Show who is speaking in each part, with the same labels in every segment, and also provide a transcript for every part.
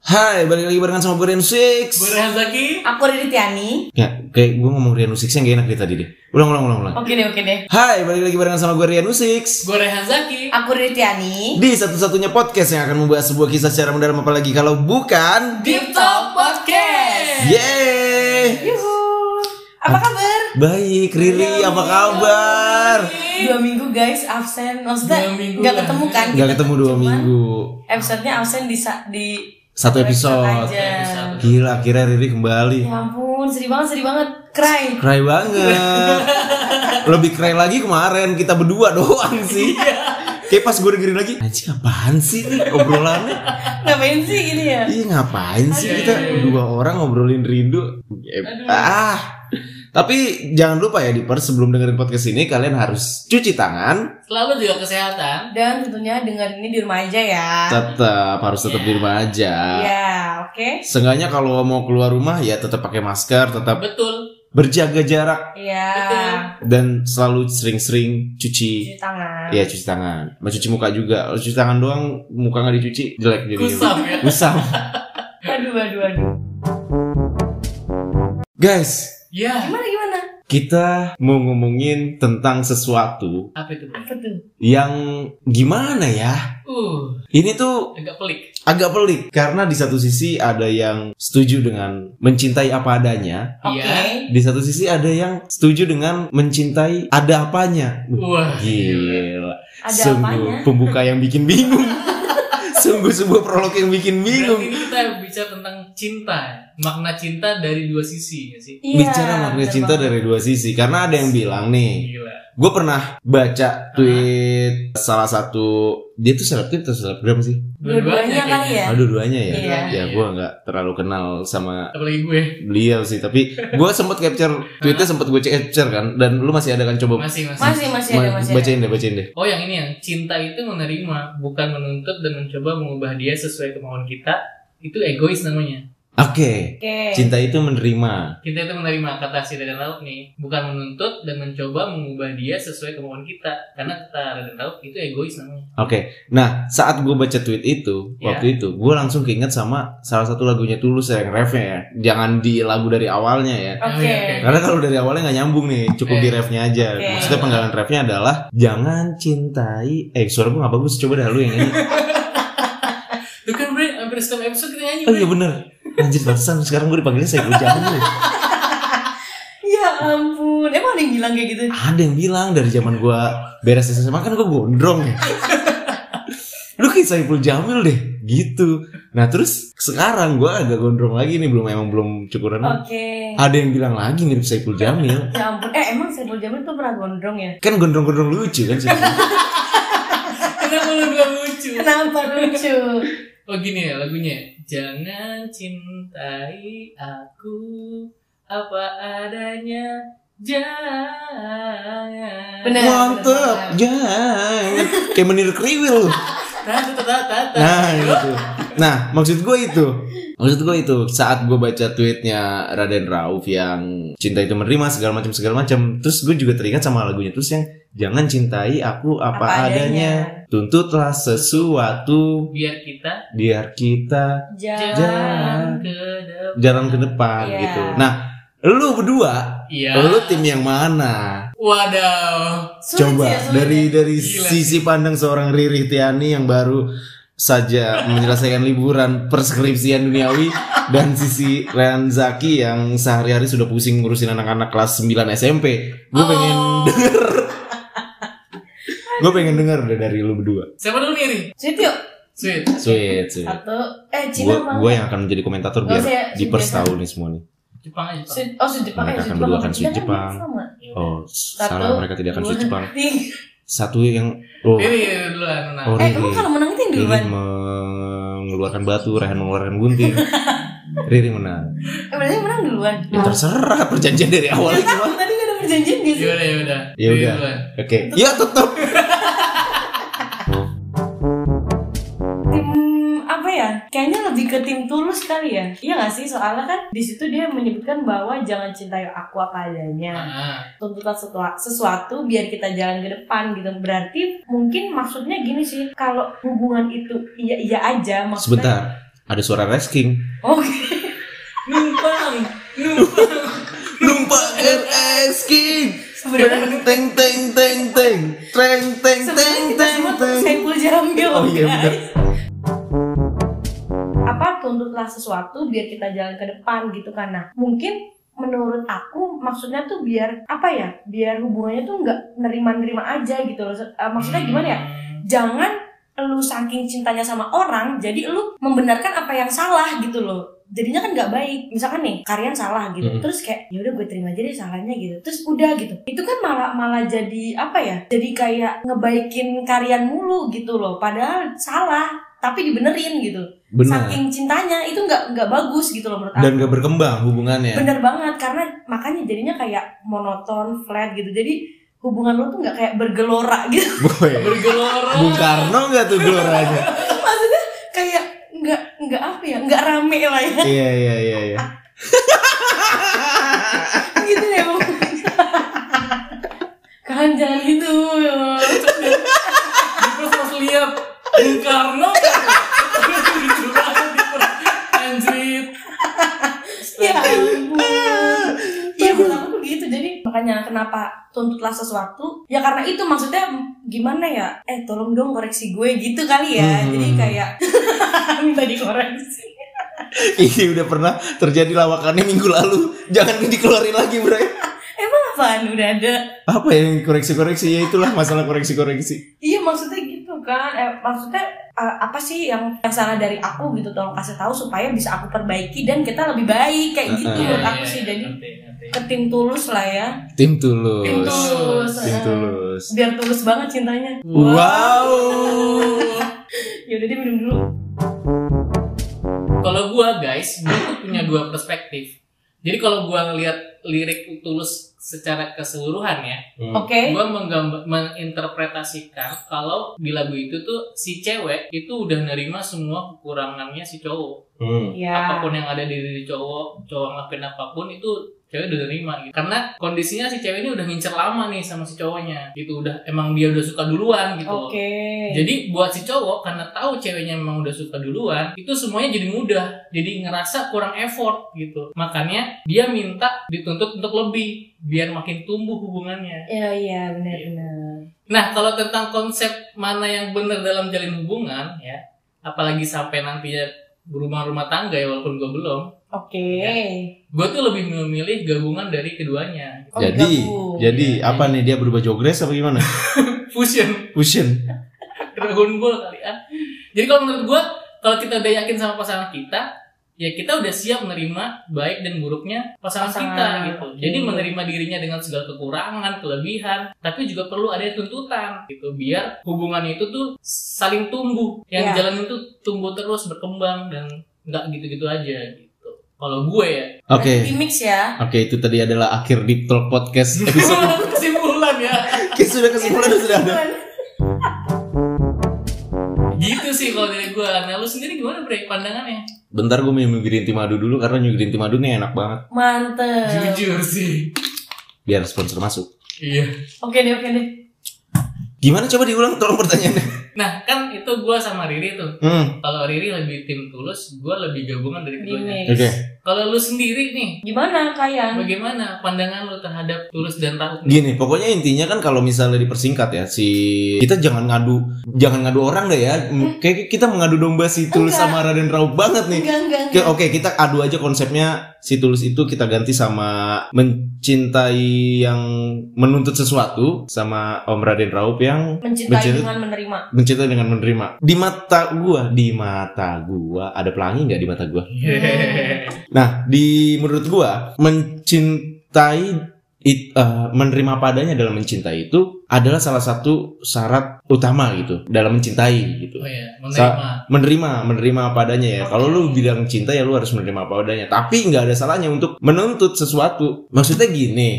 Speaker 1: Hai, balik lagi barengan sama Gue Rian Six
Speaker 2: Berhazaki
Speaker 3: Aku Riri Tiani.
Speaker 1: Ya, kayak gue ngomong Rian Six yang gak enak deh tadi deh Ulang, ulang, ulang, ulang
Speaker 3: Oke deh, oke deh.
Speaker 1: Hai, balik lagi barengan sama gue Rian Six
Speaker 2: Gue Rehanzaki
Speaker 3: Aku Riri Tiani.
Speaker 1: Di satu-satunya podcast yang akan membahas sebuah kisah secara mendalam apalagi kalau bukan
Speaker 2: Deep Talk Podcast
Speaker 1: Yeay
Speaker 3: Yuhu. Apa kabar?
Speaker 1: Baik, Riri apa kabar?
Speaker 3: Dua minggu guys absen.
Speaker 2: Dua
Speaker 3: Maksudnya
Speaker 2: minggu
Speaker 3: nggak
Speaker 2: lah.
Speaker 3: ketemu kan?
Speaker 1: Gak ketemu dua
Speaker 3: Cuman
Speaker 1: minggu
Speaker 3: Episode-nya absen di sa- di
Speaker 1: Satu episode
Speaker 3: aja.
Speaker 1: Gila, akhirnya Riri kembali
Speaker 3: Ya ampun, sedih banget, sedih banget. Cry.
Speaker 1: Cry banget Lebih keren lagi kemarin Kita berdua doang sih Kayak pas gue dengerin lagi Anjing apaan sih nih obrolannya
Speaker 3: Ngapain sih ini ya?
Speaker 1: Iya ngapain sih kita dua orang ngobrolin rindu? Eh, Ah. Tapi jangan lupa ya Dipers sebelum dengerin podcast ini kalian harus cuci tangan,
Speaker 2: Selalu juga kesehatan
Speaker 3: Dan tentunya dengar ini di rumah aja ya.
Speaker 1: tetap harus tetap di rumah aja.
Speaker 3: Ya, oke.
Speaker 1: Seenggaknya kalau mau keluar rumah ya tetap pakai masker, tetap
Speaker 2: Betul
Speaker 1: berjaga jarak
Speaker 3: Iya.
Speaker 2: Betul.
Speaker 1: dan selalu sering-sering cuci
Speaker 3: Cuci tangan.
Speaker 1: Iya cuci tangan, mencuci muka juga. Kalau cuci tangan doang muka nggak dicuci jelek jadi
Speaker 2: Kusam ya
Speaker 1: Kusam.
Speaker 3: Aduh, aduh, aduh.
Speaker 1: Guys,
Speaker 2: Ya
Speaker 3: Gimana gimana?
Speaker 1: kita mau ngomongin tentang sesuatu
Speaker 2: Apa itu?
Speaker 3: Apa tuh?
Speaker 1: yang gimana ya?
Speaker 2: Uh
Speaker 1: Ini tuh
Speaker 2: Agak pelik
Speaker 1: agak pelik karena di satu sisi ada yang setuju dengan mencintai apa adanya,
Speaker 3: Oke.
Speaker 2: Iya.
Speaker 1: di satu sisi ada yang setuju dengan mencintai ada apanya. Wah,
Speaker 2: Wah
Speaker 1: Gila.
Speaker 3: Ada
Speaker 1: Sungguh
Speaker 3: apanya?
Speaker 1: pembuka yang bikin bingung. Sungguh sebuah prolog yang bikin
Speaker 2: Berarti
Speaker 1: bingung.
Speaker 2: ini kita bicara tentang cinta ya. Makna cinta dari dua sisi ya sih?
Speaker 3: Iya,
Speaker 1: Bicara makna
Speaker 3: bener
Speaker 1: cinta
Speaker 3: banget.
Speaker 1: dari dua sisi karena ada yang bilang nih
Speaker 2: Gila
Speaker 1: Gue pernah baca tweet salah satu dia tuh selebgram atau selebgram sih?
Speaker 3: Dua-duanya kali
Speaker 2: kayaknya.
Speaker 3: ya?
Speaker 1: Aduh duanya ya.
Speaker 3: Iya.
Speaker 1: Ya gue nggak terlalu kenal sama
Speaker 2: Apalagi gue
Speaker 1: beliau sih, tapi gue sempat capture tweetnya sempat gue capture kan, dan lu masih ada kan coba
Speaker 2: Masih masih
Speaker 3: Masih masih ada
Speaker 1: ma-
Speaker 3: masih ada.
Speaker 1: bacain deh bacain deh.
Speaker 2: Oh yang ini yang cinta itu menerima bukan menuntut dan mencoba mengubah dia sesuai kemauan kita itu egois namanya
Speaker 1: Oke,
Speaker 3: Oke.
Speaker 1: cinta itu menerima.
Speaker 2: Kita itu menerima kata si Raden Laut nih, bukan menuntut dan mencoba mengubah dia sesuai kemauan kita. Karena kata Raden Laut itu egois namanya.
Speaker 1: Oke, nah saat gue baca tweet itu
Speaker 2: Iya.
Speaker 1: waktu itu gue langsung keinget sama salah satu lagunya Tulus yang refnya ya, jangan di lagu dari awalnya ya.
Speaker 3: Oke.
Speaker 1: Karena kalau dari awalnya nggak nyambung nih, cukup
Speaker 2: Eh.
Speaker 1: di refnya aja.
Speaker 3: Iya. Oke.
Speaker 1: Maksudnya penggalan refnya adalah jangan cintai. Eh suara gue nggak bagus, coba dah lu yang nyanyi.
Speaker 2: Itu kan bre, hampir setiap episode kita nyanyi.
Speaker 1: oh
Speaker 2: Bre.
Speaker 1: iya bener. Anjir barusan sekarang gue dipanggilnya saya gue
Speaker 3: Ya ampun, emang ada yang bilang kayak gitu?
Speaker 1: Ada yang bilang dari zaman gue beres SMA kan gue gondrong ya. lu kayak Saiful Jamil deh, gitu. Nah terus sekarang gue agak gondrong lagi nih, belum emang belum cukuran.
Speaker 3: Oke.
Speaker 1: Ada yang bilang lagi mirip Saiful Jamil.
Speaker 3: Ya ampun, eh emang Saiful Jamil tuh pernah gondrong ya?
Speaker 1: Kan gondrong-gondrong lucu kan sih.
Speaker 2: Kenapa lu bilang lucu?
Speaker 3: Kenapa lucu?
Speaker 2: Oh gini ya lagunya. Jangan cintai aku apa adanya. Jangan.
Speaker 3: Bener.
Speaker 1: Mantep, jangan kayak menir kriwil lu.
Speaker 2: Tata tata tata.
Speaker 1: Nah itu. Nah maksud gue itu. Maksud gue itu saat gue baca tweetnya Raden Rauf yang cinta itu menerima segala macam segala macam. Terus gue juga teringat sama lagunya terus yang jangan cintai aku apa,
Speaker 3: Apa
Speaker 1: adanya.
Speaker 3: adanya.
Speaker 1: Tuntutlah sesuatu
Speaker 2: Biar kita
Speaker 1: biar kita
Speaker 3: Jangan.
Speaker 2: jalan ke depan.
Speaker 1: jalan ke depan
Speaker 3: Iya.
Speaker 1: gitu. Nah lu berdua,
Speaker 2: Iya.
Speaker 1: lu tim yang mana?
Speaker 2: Wadaw.
Speaker 3: Sulit
Speaker 1: Coba
Speaker 3: sih ya, sulit
Speaker 1: dari
Speaker 3: ya.
Speaker 1: dari
Speaker 2: Gila
Speaker 1: sisi pandang seorang Riri Tiani yang baru saja menyelesaikan liburan perskripsian duniawi dan sisi Rehan Zaki yang sehari-hari sudah pusing ngurusin anak-anak kelas 9 SMP. Gue pengen
Speaker 2: Oh.
Speaker 1: denger.
Speaker 3: iya.
Speaker 1: Gue pengen denger deh dari lu berdua.
Speaker 2: Siapa dulu nih? Ri?
Speaker 3: Sweet yuk.
Speaker 2: Sweet.
Speaker 1: Sweet, sweet.
Speaker 3: Satu. Eh, Cina mau.
Speaker 1: Gue yang akan menjadi komentator
Speaker 3: Nggak
Speaker 1: biar
Speaker 3: usah ya,
Speaker 1: di
Speaker 3: Jepang.
Speaker 1: tahu nih semua nih.
Speaker 2: Jepang aja. Jepang.
Speaker 3: Sweet, oh Sweet Jepang, eh
Speaker 1: Mereka akan
Speaker 3: Sweet Jepang.
Speaker 1: berdua akan Sweet
Speaker 3: Kita kan
Speaker 1: Jepang.
Speaker 3: sama.
Speaker 1: Oh,
Speaker 3: Satu,
Speaker 1: salah mereka tidak akan
Speaker 3: dua,
Speaker 1: sweet Jepang.
Speaker 3: tiga.
Speaker 1: Satu yang oh,
Speaker 2: Ini duluan menang.
Speaker 1: Oh,
Speaker 3: Eh,
Speaker 1: Riri.
Speaker 3: kamu kalau menang itu yang
Speaker 1: Riri
Speaker 3: duluan.
Speaker 1: mengeluarkan batu, Rehan mengeluarkan gunting. Riri menang.
Speaker 3: Eh, berarti yang menang duluan.
Speaker 1: Ya terserah perjanjian dari awal
Speaker 3: Gak
Speaker 1: itu.
Speaker 3: tahu, tadi gak ada perjanjian gak sih?
Speaker 2: Yaudah, yaudah.
Speaker 1: Ya
Speaker 2: Riri
Speaker 1: udah.
Speaker 2: duluan.
Speaker 1: Oke. Ya tetap.
Speaker 3: tim apa ya kayaknya lebih ke tim tulus kali ya iya gak sih soalnya kan di situ dia menyebutkan bahwa jangan cintai aku apa adanya
Speaker 2: Ah,
Speaker 3: tuntutan sesuatu, sesuatu biar kita jalan ke depan gitu berarti mungkin maksudnya gini sih kalau hubungan itu iya iya aja maksudnya
Speaker 1: Sebentar. ada suara resking.
Speaker 3: Oke.
Speaker 2: Numpang, numpang.
Speaker 1: Numpak RS King.
Speaker 3: Sebenarnya
Speaker 1: teng teng teng teng teng teng
Speaker 3: sebenarnya kita semua tuh Saiful Jamil.
Speaker 1: Oh iya benar.
Speaker 3: apa tuntutlah sesuatu biar kita jalan ke depan gitu kan nah mungkin menurut aku maksudnya tuh biar apa ya biar hubungannya tuh nggak nerima-nerima aja gitu loh Se- eh, maksudnya gimana ya
Speaker 2: Hmm.
Speaker 3: jangan lu saking cintanya sama orang jadi lu membenarkan apa yang salah gitu loh jadinya kan nggak baik misalkan nih karyan salah gitu
Speaker 1: Mm.
Speaker 3: terus kayak ya udah gue terima aja deh salahnya gitu terus udah gitu itu kan malah malah jadi apa ya jadi kayak ngebaikin karyan mulu gitu loh padahal salah tapi dibenerin gitu
Speaker 1: Benar.
Speaker 3: saking cintanya itu nggak nggak bagus gitu loh menurut aku
Speaker 1: Dan gak berkembang hubungannya.
Speaker 3: bener banget karena makanya jadinya kayak monoton flat gitu jadi hubungan lo tuh nggak kayak bergelora gitu
Speaker 1: Boy.
Speaker 2: Bergelora.
Speaker 1: Bung Karno nggak tuh geloranya?
Speaker 3: maksudnya kayak nggak nggak apa ya nggak rame lah ya
Speaker 1: Iya iya iya iya.
Speaker 3: gitu deh pokoknya. kan jangan gitu ya.
Speaker 2: Terus harus lihat Bung Karno. Lucu banget, Anjrit.
Speaker 3: Iya, ya ampun Iya menurut aku tuh gitu jadi makanya kenapa tuntutlah sesuatu ya karena itu maksudnya gimana ya eh tolong dong koreksi gue gitu kali ya
Speaker 1: Hmm.
Speaker 3: jadi kayak minta dikoreksi
Speaker 1: Ini udah pernah terjadi lawakannya minggu lalu. Jangan dikeluarin lagi, Bro.
Speaker 3: Emang apaan udah ada?
Speaker 1: Apa yang koreksi-koreksi? Ya itulah masalah koreksi-koreksi.
Speaker 3: Iya maksudnya gitu kan. Eh, maksudnya eh, apa sih yang yang salah dari aku gitu tolong kasih tahu supaya bisa aku perbaiki dan kita lebih baik kayak gitu
Speaker 1: Heeh.
Speaker 3: menurut aku sih. Jadi
Speaker 2: Iya, ngerti, ngerti.
Speaker 3: ke tim tulus lah ya.
Speaker 1: Tim tulus.
Speaker 3: Tim tulus.
Speaker 1: Tim
Speaker 3: eh.
Speaker 1: tulus.
Speaker 3: Biar tulus banget cintanya.
Speaker 1: Wow.
Speaker 3: Ya udah deh minum dulu.
Speaker 1: Hmm.
Speaker 2: Kalau gua guys, gua tuh punya dua perspektif. Jadi kalau gua ngelihat lirik tulus secara keseluruhan ya,
Speaker 1: Oh,
Speaker 3: Oke.
Speaker 2: gua menggambar, menginterpretasikan kalau di lagu itu tuh si cewek itu udah nerima semua kekurangannya si cowok.
Speaker 1: Hmm.
Speaker 3: Ya.
Speaker 2: Apapun yang ada di diri cowok, cowok ngelakuin apapun itu cewek udah nerima gitu. Karena kondisinya si cewek ini udah ngincer lama nih sama si cowoknya. Itu udah emang dia udah suka duluan gitu. loh.
Speaker 3: Oke.
Speaker 2: Jadi buat si cowok karena tahu ceweknya memang udah suka duluan, itu semuanya jadi mudah. Jadi ngerasa kurang effort gitu. Makanya dia minta dituntut untuk lebih biar makin tumbuh hubungannya.
Speaker 3: Ya iya benar-benar.
Speaker 2: Nah, kalau tentang konsep mana yang benar dalam jalin hubungan ya, apalagi sampai nantinya berumah rumah tangga ya walaupun gue belum,
Speaker 3: Oke.
Speaker 2: Ya. gue tuh lebih memilih gabungan dari keduanya.
Speaker 3: Oh,
Speaker 1: jadi,
Speaker 3: gabung.
Speaker 1: jadi
Speaker 2: Iya,
Speaker 1: apa nih dia berubah jogres apa gimana?
Speaker 2: Fusion
Speaker 1: Fusion.
Speaker 2: Dragon Ball kali ya. Jadi kalau menurut gue, kalau kita udah yakin sama pasangan kita, ya kita udah siap menerima baik dan buruknya pasangan,
Speaker 3: Pasangan,
Speaker 2: kita gitu. Jadi
Speaker 3: oke.
Speaker 2: menerima dirinya dengan segala kekurangan, kelebihan, tapi juga perlu ada tuntutan gitu biar hubungan itu tuh saling tumbuh. Yang
Speaker 3: Iya.
Speaker 2: jalan itu tumbuh terus berkembang dan nggak gitu-gitu aja gitu. Kalau gue ya,
Speaker 1: Oke.
Speaker 3: Di mix ya.
Speaker 1: Oke, itu tadi adalah akhir Deep Talk Podcast episode.
Speaker 2: kesimpulan ya.
Speaker 1: Oke, sudah kesimpulan sudah ada.
Speaker 2: Gitu sih kalau dari gue. Nah lu sendiri gimana break pandangannya?
Speaker 1: Bentar gue mau nyunggu green tea madu dulu karena nyunggu green tea madu nih enak banget.
Speaker 3: Mantep.
Speaker 2: Jujur sih.
Speaker 1: Biar sponsor masuk.
Speaker 2: Iya.
Speaker 3: Oke deh, oke deh.
Speaker 1: Gimana coba diulang tolong pertanyaannya?
Speaker 2: Nah kan itu gue sama Riri tuh
Speaker 1: Hmm.
Speaker 2: Kalau Riri lebih tim tulus Gue lebih gabungan dari
Speaker 3: Di
Speaker 2: keduanya
Speaker 3: mix.
Speaker 1: Oke.
Speaker 2: Kalau lu sendiri nih
Speaker 3: Gimana kalian?
Speaker 2: Bagaimana pandangan lu terhadap tulus dan tahu
Speaker 1: Gini, pokoknya intinya kan kalau misalnya dipersingkat ya si kita jangan ngadu, jangan ngadu orang deh ya. M- Kayak kita mengadu domba si Tulus
Speaker 3: Enggak.
Speaker 1: sama Raden Raup banget nih.
Speaker 3: Enggak, enggak,
Speaker 1: Oke,
Speaker 3: enggak.
Speaker 1: oke, kita adu aja konsepnya si Tulus itu kita ganti sama mencintai yang menuntut sesuatu sama Om Raden Raup yang
Speaker 3: Mencintai
Speaker 1: Mencintai.
Speaker 3: dengan menerima.
Speaker 1: mencintai dengan menerima. Di mata gua, di mata gua ada pelangi nggak di mata gua?
Speaker 2: Iya.
Speaker 1: Nah, di menurut gua mencintai it- eh, menerima padanya dalam mencintai itu adalah salah satu syarat utama gitu dalam mencintai gitu.
Speaker 2: Oh iya menerima
Speaker 1: Menerima, menerima padanya ya.
Speaker 3: Oke.
Speaker 1: Kalau lu bilang cinta ya lu harus menerima padanya. Tapi nggak ada salahnya untuk menuntut sesuatu. Maksudnya gini,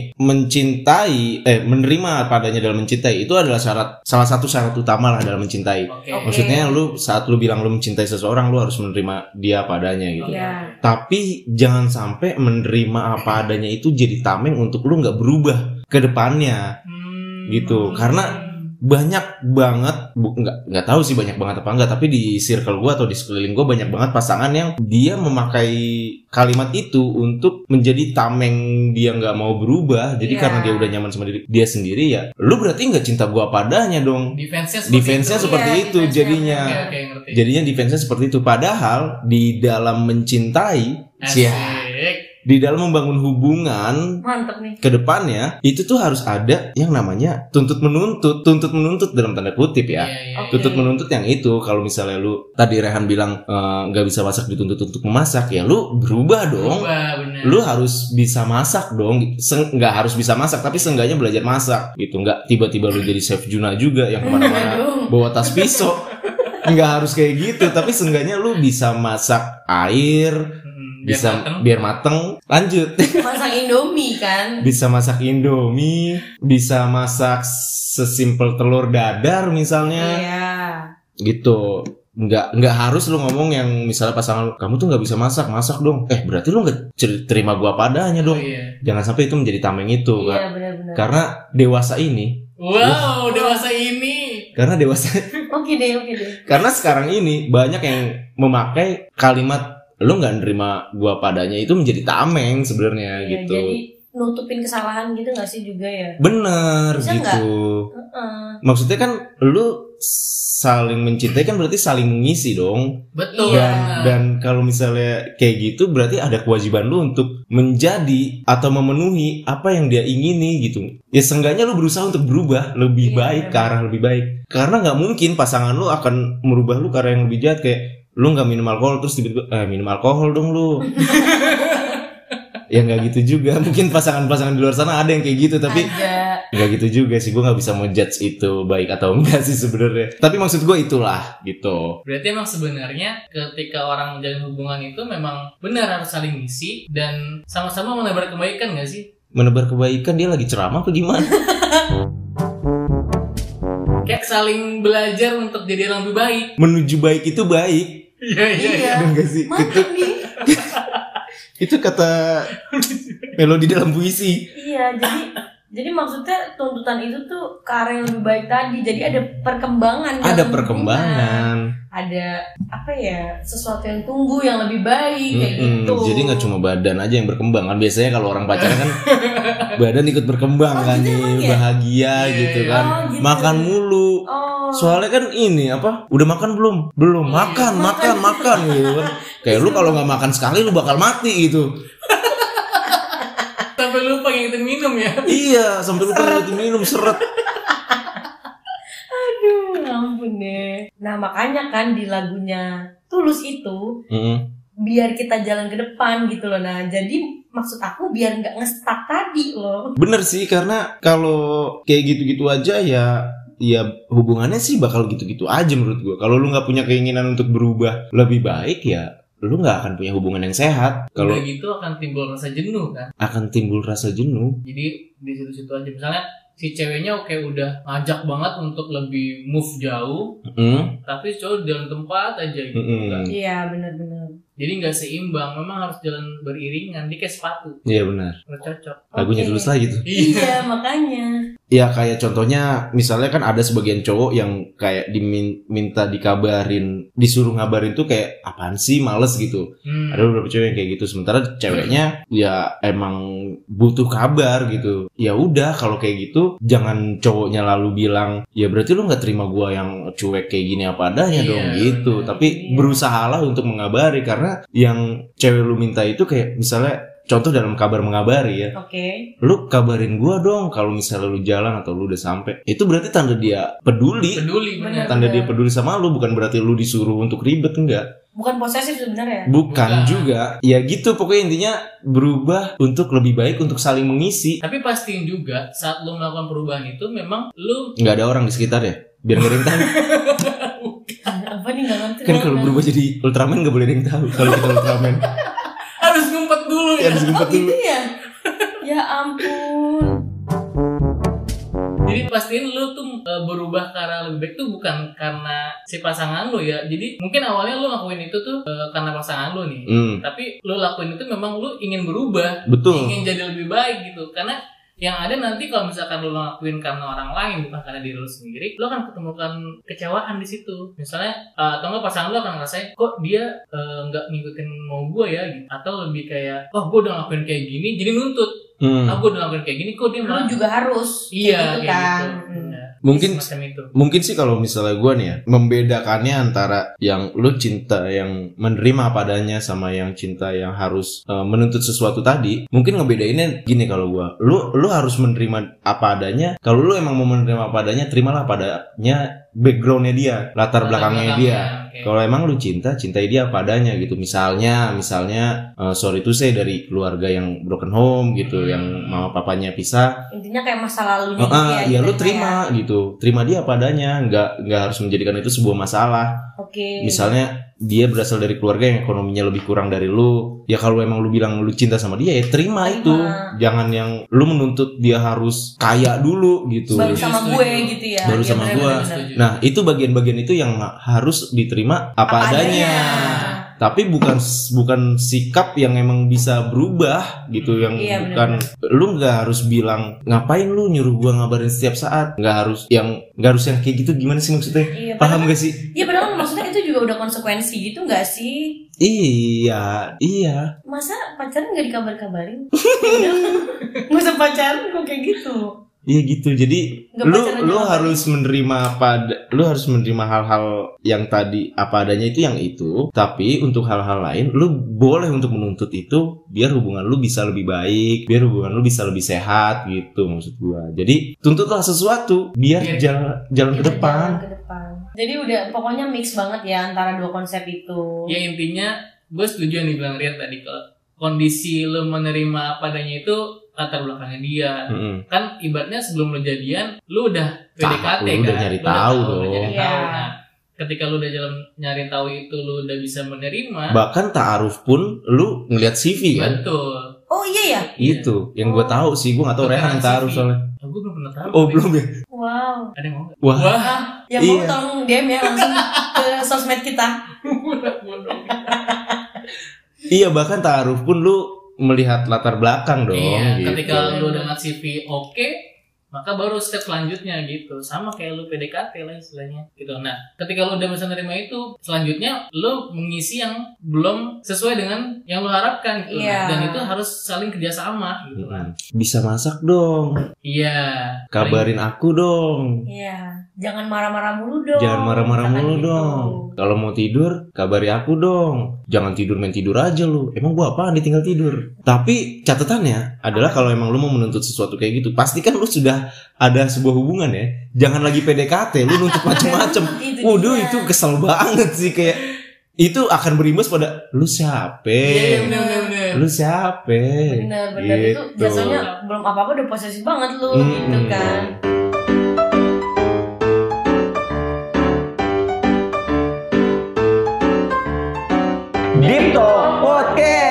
Speaker 1: mencintai eh menerima padanya dalam mencintai itu adalah syarat salah satu syarat utama lah dalam mencintai.
Speaker 2: Oke
Speaker 3: Oke.
Speaker 1: Maksudnya lu saat lu bilang lu mencintai seseorang lu harus menerima dia padanya gitu.
Speaker 2: Oke.
Speaker 3: Iya.
Speaker 1: Tapi jangan sampai menerima apa adanya itu jadi tameng untuk lu nggak berubah ke depannya
Speaker 2: Hmm.
Speaker 1: Gitu, karena- banyak banget bu, nggak nggak tahu sih banyak banget apa enggak tapi di circle gue atau di sekeliling gue banyak banget pasangan yang dia memakai kalimat itu untuk menjadi tameng dia nggak mau berubah jadi
Speaker 3: Iya.
Speaker 1: karena dia udah nyaman sama diri dia sendiri ya lu berarti nggak cinta gue apa adanya dong
Speaker 2: defense-nya seperti
Speaker 1: defense-nya
Speaker 2: itu.
Speaker 1: seperti
Speaker 3: Iya,
Speaker 1: itu
Speaker 3: defense-nya.
Speaker 1: jadinya
Speaker 2: Oke, oke, ngerti.
Speaker 1: jadinya defense-nya seperti itu padahal di dalam mencintai
Speaker 3: Nah,
Speaker 2: Asik.
Speaker 1: ya di dalam membangun hubungan
Speaker 3: Mantep nih.
Speaker 1: kedepannya itu tuh harus ada yang namanya tuntut menuntut tuntut menuntut dalam tanda kutip
Speaker 2: Iya,
Speaker 1: ya
Speaker 2: iya,
Speaker 3: Oke.
Speaker 2: iya.
Speaker 1: tuntut menuntut yang itu kalau misalnya lu tadi Rehan bilang eh, nggak bisa masak dituntut untuk memasak ya lu berubah dong
Speaker 2: Berubah, bener.
Speaker 1: lu harus bisa masak dong Seng- nggak harus bisa masak tapi seenggaknya belajar masak gitu nggak tiba-tiba lu jadi chef Juna juga yang kemana-mana
Speaker 3: Aduh.
Speaker 1: bawa tas pisau nggak harus kayak gitu tapi seenggaknya lu bisa masak air
Speaker 2: Mm, biar
Speaker 1: bisa
Speaker 2: mateng.
Speaker 1: biar mateng lanjut
Speaker 3: Masak Indomie kan.
Speaker 1: bisa masak indomie, bisa masak sesimpel telur dadar misalnya,
Speaker 3: Iya.
Speaker 1: gitu. Nggak nggak harus lu ngomong yang misalnya pasangan lu, kamu tuh nggak bisa masak, masak dong. Eh berarti lu nggak cer- terima gua padanya
Speaker 2: Oh,
Speaker 1: dong.
Speaker 2: iya.
Speaker 1: Jangan sampai itu menjadi tameng itu, Kak.
Speaker 3: Iya benar-benar.
Speaker 1: karena dewasa ini,
Speaker 2: Wow, dewasa ini.
Speaker 1: karena dewasa,
Speaker 3: Oke deh, oke deh.
Speaker 1: karena sekarang ini banyak yang memakai kalimat lu nggak nerima gua padanya itu menjadi tameng sebenarnya
Speaker 3: Iya,
Speaker 1: gitu.
Speaker 3: Jadi nutupin kesalahan gitu gak sih juga ya?
Speaker 1: Bener
Speaker 3: Bisa
Speaker 1: gitu.
Speaker 3: nggak? Heeh.
Speaker 1: Maksudnya kan lu saling mencintai kan berarti saling mengisi dong.
Speaker 2: Betul. Nah,
Speaker 3: Iya.
Speaker 1: Dan dan kalau misalnya kayak gitu berarti ada kewajiban lu untuk menjadi atau memenuhi apa yang dia ingini gitu. Ya seenggaknya lu berusaha untuk berubah lebih
Speaker 3: Iya,
Speaker 1: baik
Speaker 3: benar.
Speaker 1: ke arah lebih baik. Karena nggak mungkin pasangan lu akan merubah lu ke arah yang lebih jahat kayak lu nggak minum alkohol terus tiba-tiba eh, minum alkohol dong lu. ya nggak gitu juga. Mungkin pasangan-pasangan di luar sana ada yang kayak gitu tapi
Speaker 3: Ada.
Speaker 1: Gak gitu juga sih, gue gak bisa menjudge itu baik atau enggak sih sebenarnya. Tapi maksud gue itulah gitu.
Speaker 2: Berarti emang sebenarnya ketika orang menjalin hubungan itu memang benar harus saling ngisi dan sama-sama menebar kebaikan gak sih?
Speaker 1: Menebar kebaikan dia lagi ceramah apa gimana?
Speaker 2: Kayak saling belajar untuk jadi orang lebih baik.
Speaker 1: Menuju baik itu baik.
Speaker 2: Iya, iya.
Speaker 3: Iya.
Speaker 1: Ada nggak sih? Itu,
Speaker 3: Mantep nih.
Speaker 1: itu kata melodi dalam puisi.
Speaker 3: Iya, jadi jadi maksudnya tuntutan itu tuh ke arah yang lebih baik tadi. Jadi ada perkembangan.
Speaker 1: Ada
Speaker 3: dalam hubungan.
Speaker 1: perkembangan.
Speaker 3: Ada apa ya? Sesuatu yang tumbuh yang lebih baik kayak
Speaker 1: Mm-mm.
Speaker 3: gitu.
Speaker 1: Jadi nggak cuma badan aja yang berkembang kan. Biasanya kalau orang pacaran kan badan ikut berkembang
Speaker 3: Oh,
Speaker 1: kan
Speaker 3: gitu emang
Speaker 1: nih,
Speaker 3: ya?
Speaker 1: bahagia
Speaker 2: Iya,
Speaker 1: gitu
Speaker 2: iya.
Speaker 1: kan.
Speaker 3: Oh, gitu.
Speaker 1: Makan mulu.
Speaker 3: Oh. Iya.
Speaker 1: Soalnya kan ini apa? Udah makan belum? Belum. Makan, makan, makan gitu kan. Kayak lu kalau nggak makan sekali lu bakal mati gitu.
Speaker 2: Sampai lupa ngingetin minum ya.
Speaker 1: Iya, sampai lu pengen itu minum seret.
Speaker 3: Aduh, ya ampun deh. Nah, makanya kan di lagunya Tulus itu
Speaker 1: Mm.
Speaker 3: biar kita jalan ke depan gitu loh. Nah, jadi maksud aku biar nggak ngestak tadi loh.
Speaker 1: Bener sih karena kalau kayak gitu-gitu aja ya ya hubungannya sih bakal gitu-gitu aja menurut gua. Kalau lu nggak punya keinginan untuk berubah lebih baik ya lu nggak akan punya hubungan yang sehat.
Speaker 2: Kalau
Speaker 1: Kalau
Speaker 2: gitu akan timbul rasa jenuh kan.
Speaker 1: akan timbul rasa jenuh.
Speaker 2: Jadi di situ-situ aja misalnya si ceweknya oke udah ngajak banget untuk lebih move jauh,
Speaker 1: Mm.
Speaker 2: tapi si cowok dalam tempat aja gitu.
Speaker 1: Mm-mm.
Speaker 2: kan.
Speaker 3: Iya, bener-bener.
Speaker 2: Jadi nggak seimbang, memang harus jalan beriringan. Dia kayak sepatu,
Speaker 1: Iya benar.
Speaker 2: nggak cocok.
Speaker 1: Lagunya
Speaker 3: Oke.
Speaker 1: tulus lagi tuh.
Speaker 3: Iya, makanya.
Speaker 1: Ya kayak contohnya misalnya kan ada sebagian cowok yang kayak diminta dikabarin, disuruh ngabarin tuh kayak apaan sih males gitu.
Speaker 2: Hmm.
Speaker 1: Ada beberapa cewek yang kayak gitu. Sementara ceweknya ya emang butuh kabar gitu. Ya udah kalau kayak gitu jangan cowoknya lalu bilang ya berarti lu nggak terima gua yang cuek kayak gini apa adanya
Speaker 2: Iya,
Speaker 1: dong gitu. Tapi
Speaker 3: Iya.
Speaker 1: berusahalah untuk mengabari karena yang cewek lu minta itu kayak misalnya contoh dalam kabar mengabari ya
Speaker 3: Oke.
Speaker 1: lu kabarin gua dong kalau misalnya lu jalan atau lu udah sampai itu berarti tanda dia peduli
Speaker 2: peduli bener.
Speaker 1: tanda dia peduli sama lu bukan berarti lu disuruh untuk ribet enggak
Speaker 3: Bukan posesif sebenarnya.
Speaker 1: bukan
Speaker 2: Bukan.
Speaker 1: juga ya gitu pokoknya intinya berubah untuk lebih baik untuk saling mengisi
Speaker 2: Tapi pastiin juga saat lu melakukan perubahan itu memang lu
Speaker 1: nggak ada orang di sekitar ya biar nggak ada yang tahu
Speaker 3: apa nih nggak ngerti
Speaker 1: kan kalau berubah jadi Ultraman nggak boleh ada yang tahu kalau kita Ultraman
Speaker 2: harus ngumpet dulu
Speaker 1: ya
Speaker 2: ya.
Speaker 1: harus
Speaker 3: oh
Speaker 1: ngumpet dulu
Speaker 3: gitu ya ya ampun
Speaker 2: Jadi pastiin lu tuh e, berubah ke arah lebih baik tuh bukan karena si pasangan lu ya. Jadi mungkin awalnya lu lakuin itu tuh e, karena pasangan lu nih.
Speaker 1: Hmm,
Speaker 2: Tapi lu lakuin itu memang lu ingin berubah,
Speaker 1: betul
Speaker 2: ingin jadi lebih baik gitu. Karena yang ada nanti kalau misalkan lo lakuin karena orang lain bukan karena diri lo sendiri lo akan ketemukan kecewaan di situ misalnya eh, atau enggak pasangan lo akan ngerasain kok dia eh, nggak ngikutin mau gue ya gitu. atau lebih kayak oh gue udah ngelakuin kayak gini jadi nuntut
Speaker 1: Hmm.
Speaker 2: ah gue udah ngelakuin kayak gini kok dia
Speaker 3: Lu
Speaker 2: malah
Speaker 3: juga harus kayak
Speaker 2: iya
Speaker 3: gitu
Speaker 2: kayak
Speaker 3: kan.
Speaker 2: gitu.
Speaker 3: Hmm.
Speaker 2: Nah,
Speaker 1: Mungkin
Speaker 2: semacam itu
Speaker 1: mungkin sih kalau misalnya gue nih ya membedakannya antara yang lu cinta yang menerima padanya sama yang cinta yang harus eh, menuntut sesuatu tadi mungkin ngebedainnya gini kalau gue lu lu harus menerima apa adanya kalau lu emang mau menerima apa adanya terimalah padanya backgroundnya dia latar belakangnya dia
Speaker 2: Oke.
Speaker 1: kalau emang lu cinta, cintai dia padanya gitu. Misalnya, misalnya eh, sorry to say dari keluarga yang broken home gitu, yang mama papanya pisah,
Speaker 3: Hmm. Intinya kayak masa gitu lalu
Speaker 1: Oh, ah, ya lu terima gitu, terima dia padanya, nggak nggak harus menjadikan itu sebuah masalah.
Speaker 3: Oke.
Speaker 1: iya. Misalnya dia berasal dari keluarga yang ekonominya lebih kurang dari lu, ya kalau emang lu bilang lu cinta sama dia ya terima,
Speaker 3: Terima.
Speaker 1: itu, jangan yang lu menuntut dia harus kaya dulu gitu.
Speaker 3: baru
Speaker 2: Setuju,
Speaker 3: sama
Speaker 2: setuju.
Speaker 3: gue gitu ya.
Speaker 1: Baru
Speaker 3: Iya,
Speaker 1: sama
Speaker 3: benar,
Speaker 1: gue.
Speaker 3: benar, benar.
Speaker 2: Setuju.
Speaker 1: Nah itu bagian-bagian itu yang ma- harus diterima apa, adanya. Tapi bukan bukan sikap yang emang bisa berubah gitu, yang
Speaker 3: Iya,
Speaker 1: bukan lu nggak harus bilang ngapain lu nyuruh gua ngabarin setiap saat nggak harus yang nggak harus yang kayak gitu gimana sih maksudnya
Speaker 3: Iya,
Speaker 1: paham
Speaker 3: paham.
Speaker 1: gak sih
Speaker 3: Iya, padahal maksudnya itu juga udah konsekuensi gitu gak sih?
Speaker 1: iya iya
Speaker 3: Masa pacaran gak dikabar-kabarin? Ya udah. Nggak usah pacaran kok kayak gitu.
Speaker 1: iya gitu jadi
Speaker 3: Nggak
Speaker 1: lu
Speaker 3: pacaran
Speaker 1: lu
Speaker 3: juga.
Speaker 1: harus menerima pada lu harus menerima hal-hal yang tadi apa adanya itu yang itu tapi untuk hal-hal lain lu boleh untuk menuntut itu biar hubungan lu bisa lebih baik biar hubungan lu bisa lebih sehat gitu maksud gua jadi tuntutlah sesuatu biar
Speaker 2: Iya.
Speaker 1: jalan jalan ke
Speaker 3: Kita
Speaker 1: depan
Speaker 3: jalan ke depan. Jadi udah pokoknya mix banget ya antara dua konsep itu.
Speaker 2: ya intinya gue setuju yang dibilang Rian tadi kalau kondisi lo menerima apa adanya itu latar belakangnya dia
Speaker 1: Mm-mm.
Speaker 2: kan ibaratnya sebelum lo jadian lo udah
Speaker 1: Tahu,
Speaker 2: PDKT kan
Speaker 1: lu udah nyari
Speaker 2: Lu udah
Speaker 1: tahu
Speaker 2: udah
Speaker 1: dong.
Speaker 2: nyari
Speaker 3: Iya.
Speaker 2: tahu. Nah, ketika lo udah jalan nyari tahu itu lo udah bisa menerima
Speaker 1: bahkan taaruf pun lu ngelihat
Speaker 2: Iya.
Speaker 1: CV kan
Speaker 2: betul
Speaker 3: Oh iya ya.
Speaker 2: Iya.
Speaker 1: itu yang gue tahu sih gue gak tahu
Speaker 2: Bukan
Speaker 1: Rehan yang
Speaker 2: CV.
Speaker 1: taaruf soalnya
Speaker 2: oh, gue belum pernah tahu
Speaker 1: oh belum Ah, ya
Speaker 3: Wow.
Speaker 2: ada yang mau nggak
Speaker 1: wah
Speaker 2: wah
Speaker 3: Ya mau
Speaker 1: Iya.
Speaker 3: tolong DM ya langsung ke sosmed kita.
Speaker 1: iya bahkan taaruf pun lu melihat latar belakang dong
Speaker 2: iya,
Speaker 1: gitu.
Speaker 2: ketika lu dengan CV oke, maka baru step selanjutnya gitu. Sama kayak lu PDKT lah istilahnya gitu. Nah, ketika lu udah bisa nerima itu, selanjutnya lu mengisi yang belum sesuai dengan yang lu harapkan gitu.
Speaker 3: Iya.
Speaker 2: Dan itu harus saling kerjasama gitu kan.
Speaker 1: Mm-mm. bisa masak dong
Speaker 2: Iya.
Speaker 1: kabarin aku dong
Speaker 3: Iya. Jangan marah-marah mulu dong.
Speaker 1: jangan marah-marah
Speaker 3: Jangan
Speaker 1: mulu
Speaker 3: gitu.
Speaker 1: dong kalau mau tidur kabari aku dong jangan tidur main tidur aja lu emang gua apaan ditinggal tidur tapi catatannya adalah kalau emang lu mau menuntut sesuatu kayak gitu pastikan lu sudah ada sebuah hubungan ya jangan lagi PDKT lu nuntut macem-macem
Speaker 3: Itu
Speaker 1: Waduh
Speaker 3: dia.
Speaker 1: itu kesel banget sih kayak itu akan berimbas pada lu siapa?
Speaker 2: Iya, iya, bener, bener, bener.
Speaker 1: Lu siapa?
Speaker 3: bener bener itu
Speaker 1: Gitu.
Speaker 3: jatuhnya belum apa apa udah posesif banget lu gitu
Speaker 1: Mm-mm.
Speaker 3: kan
Speaker 1: Dipto Podcast. Iya.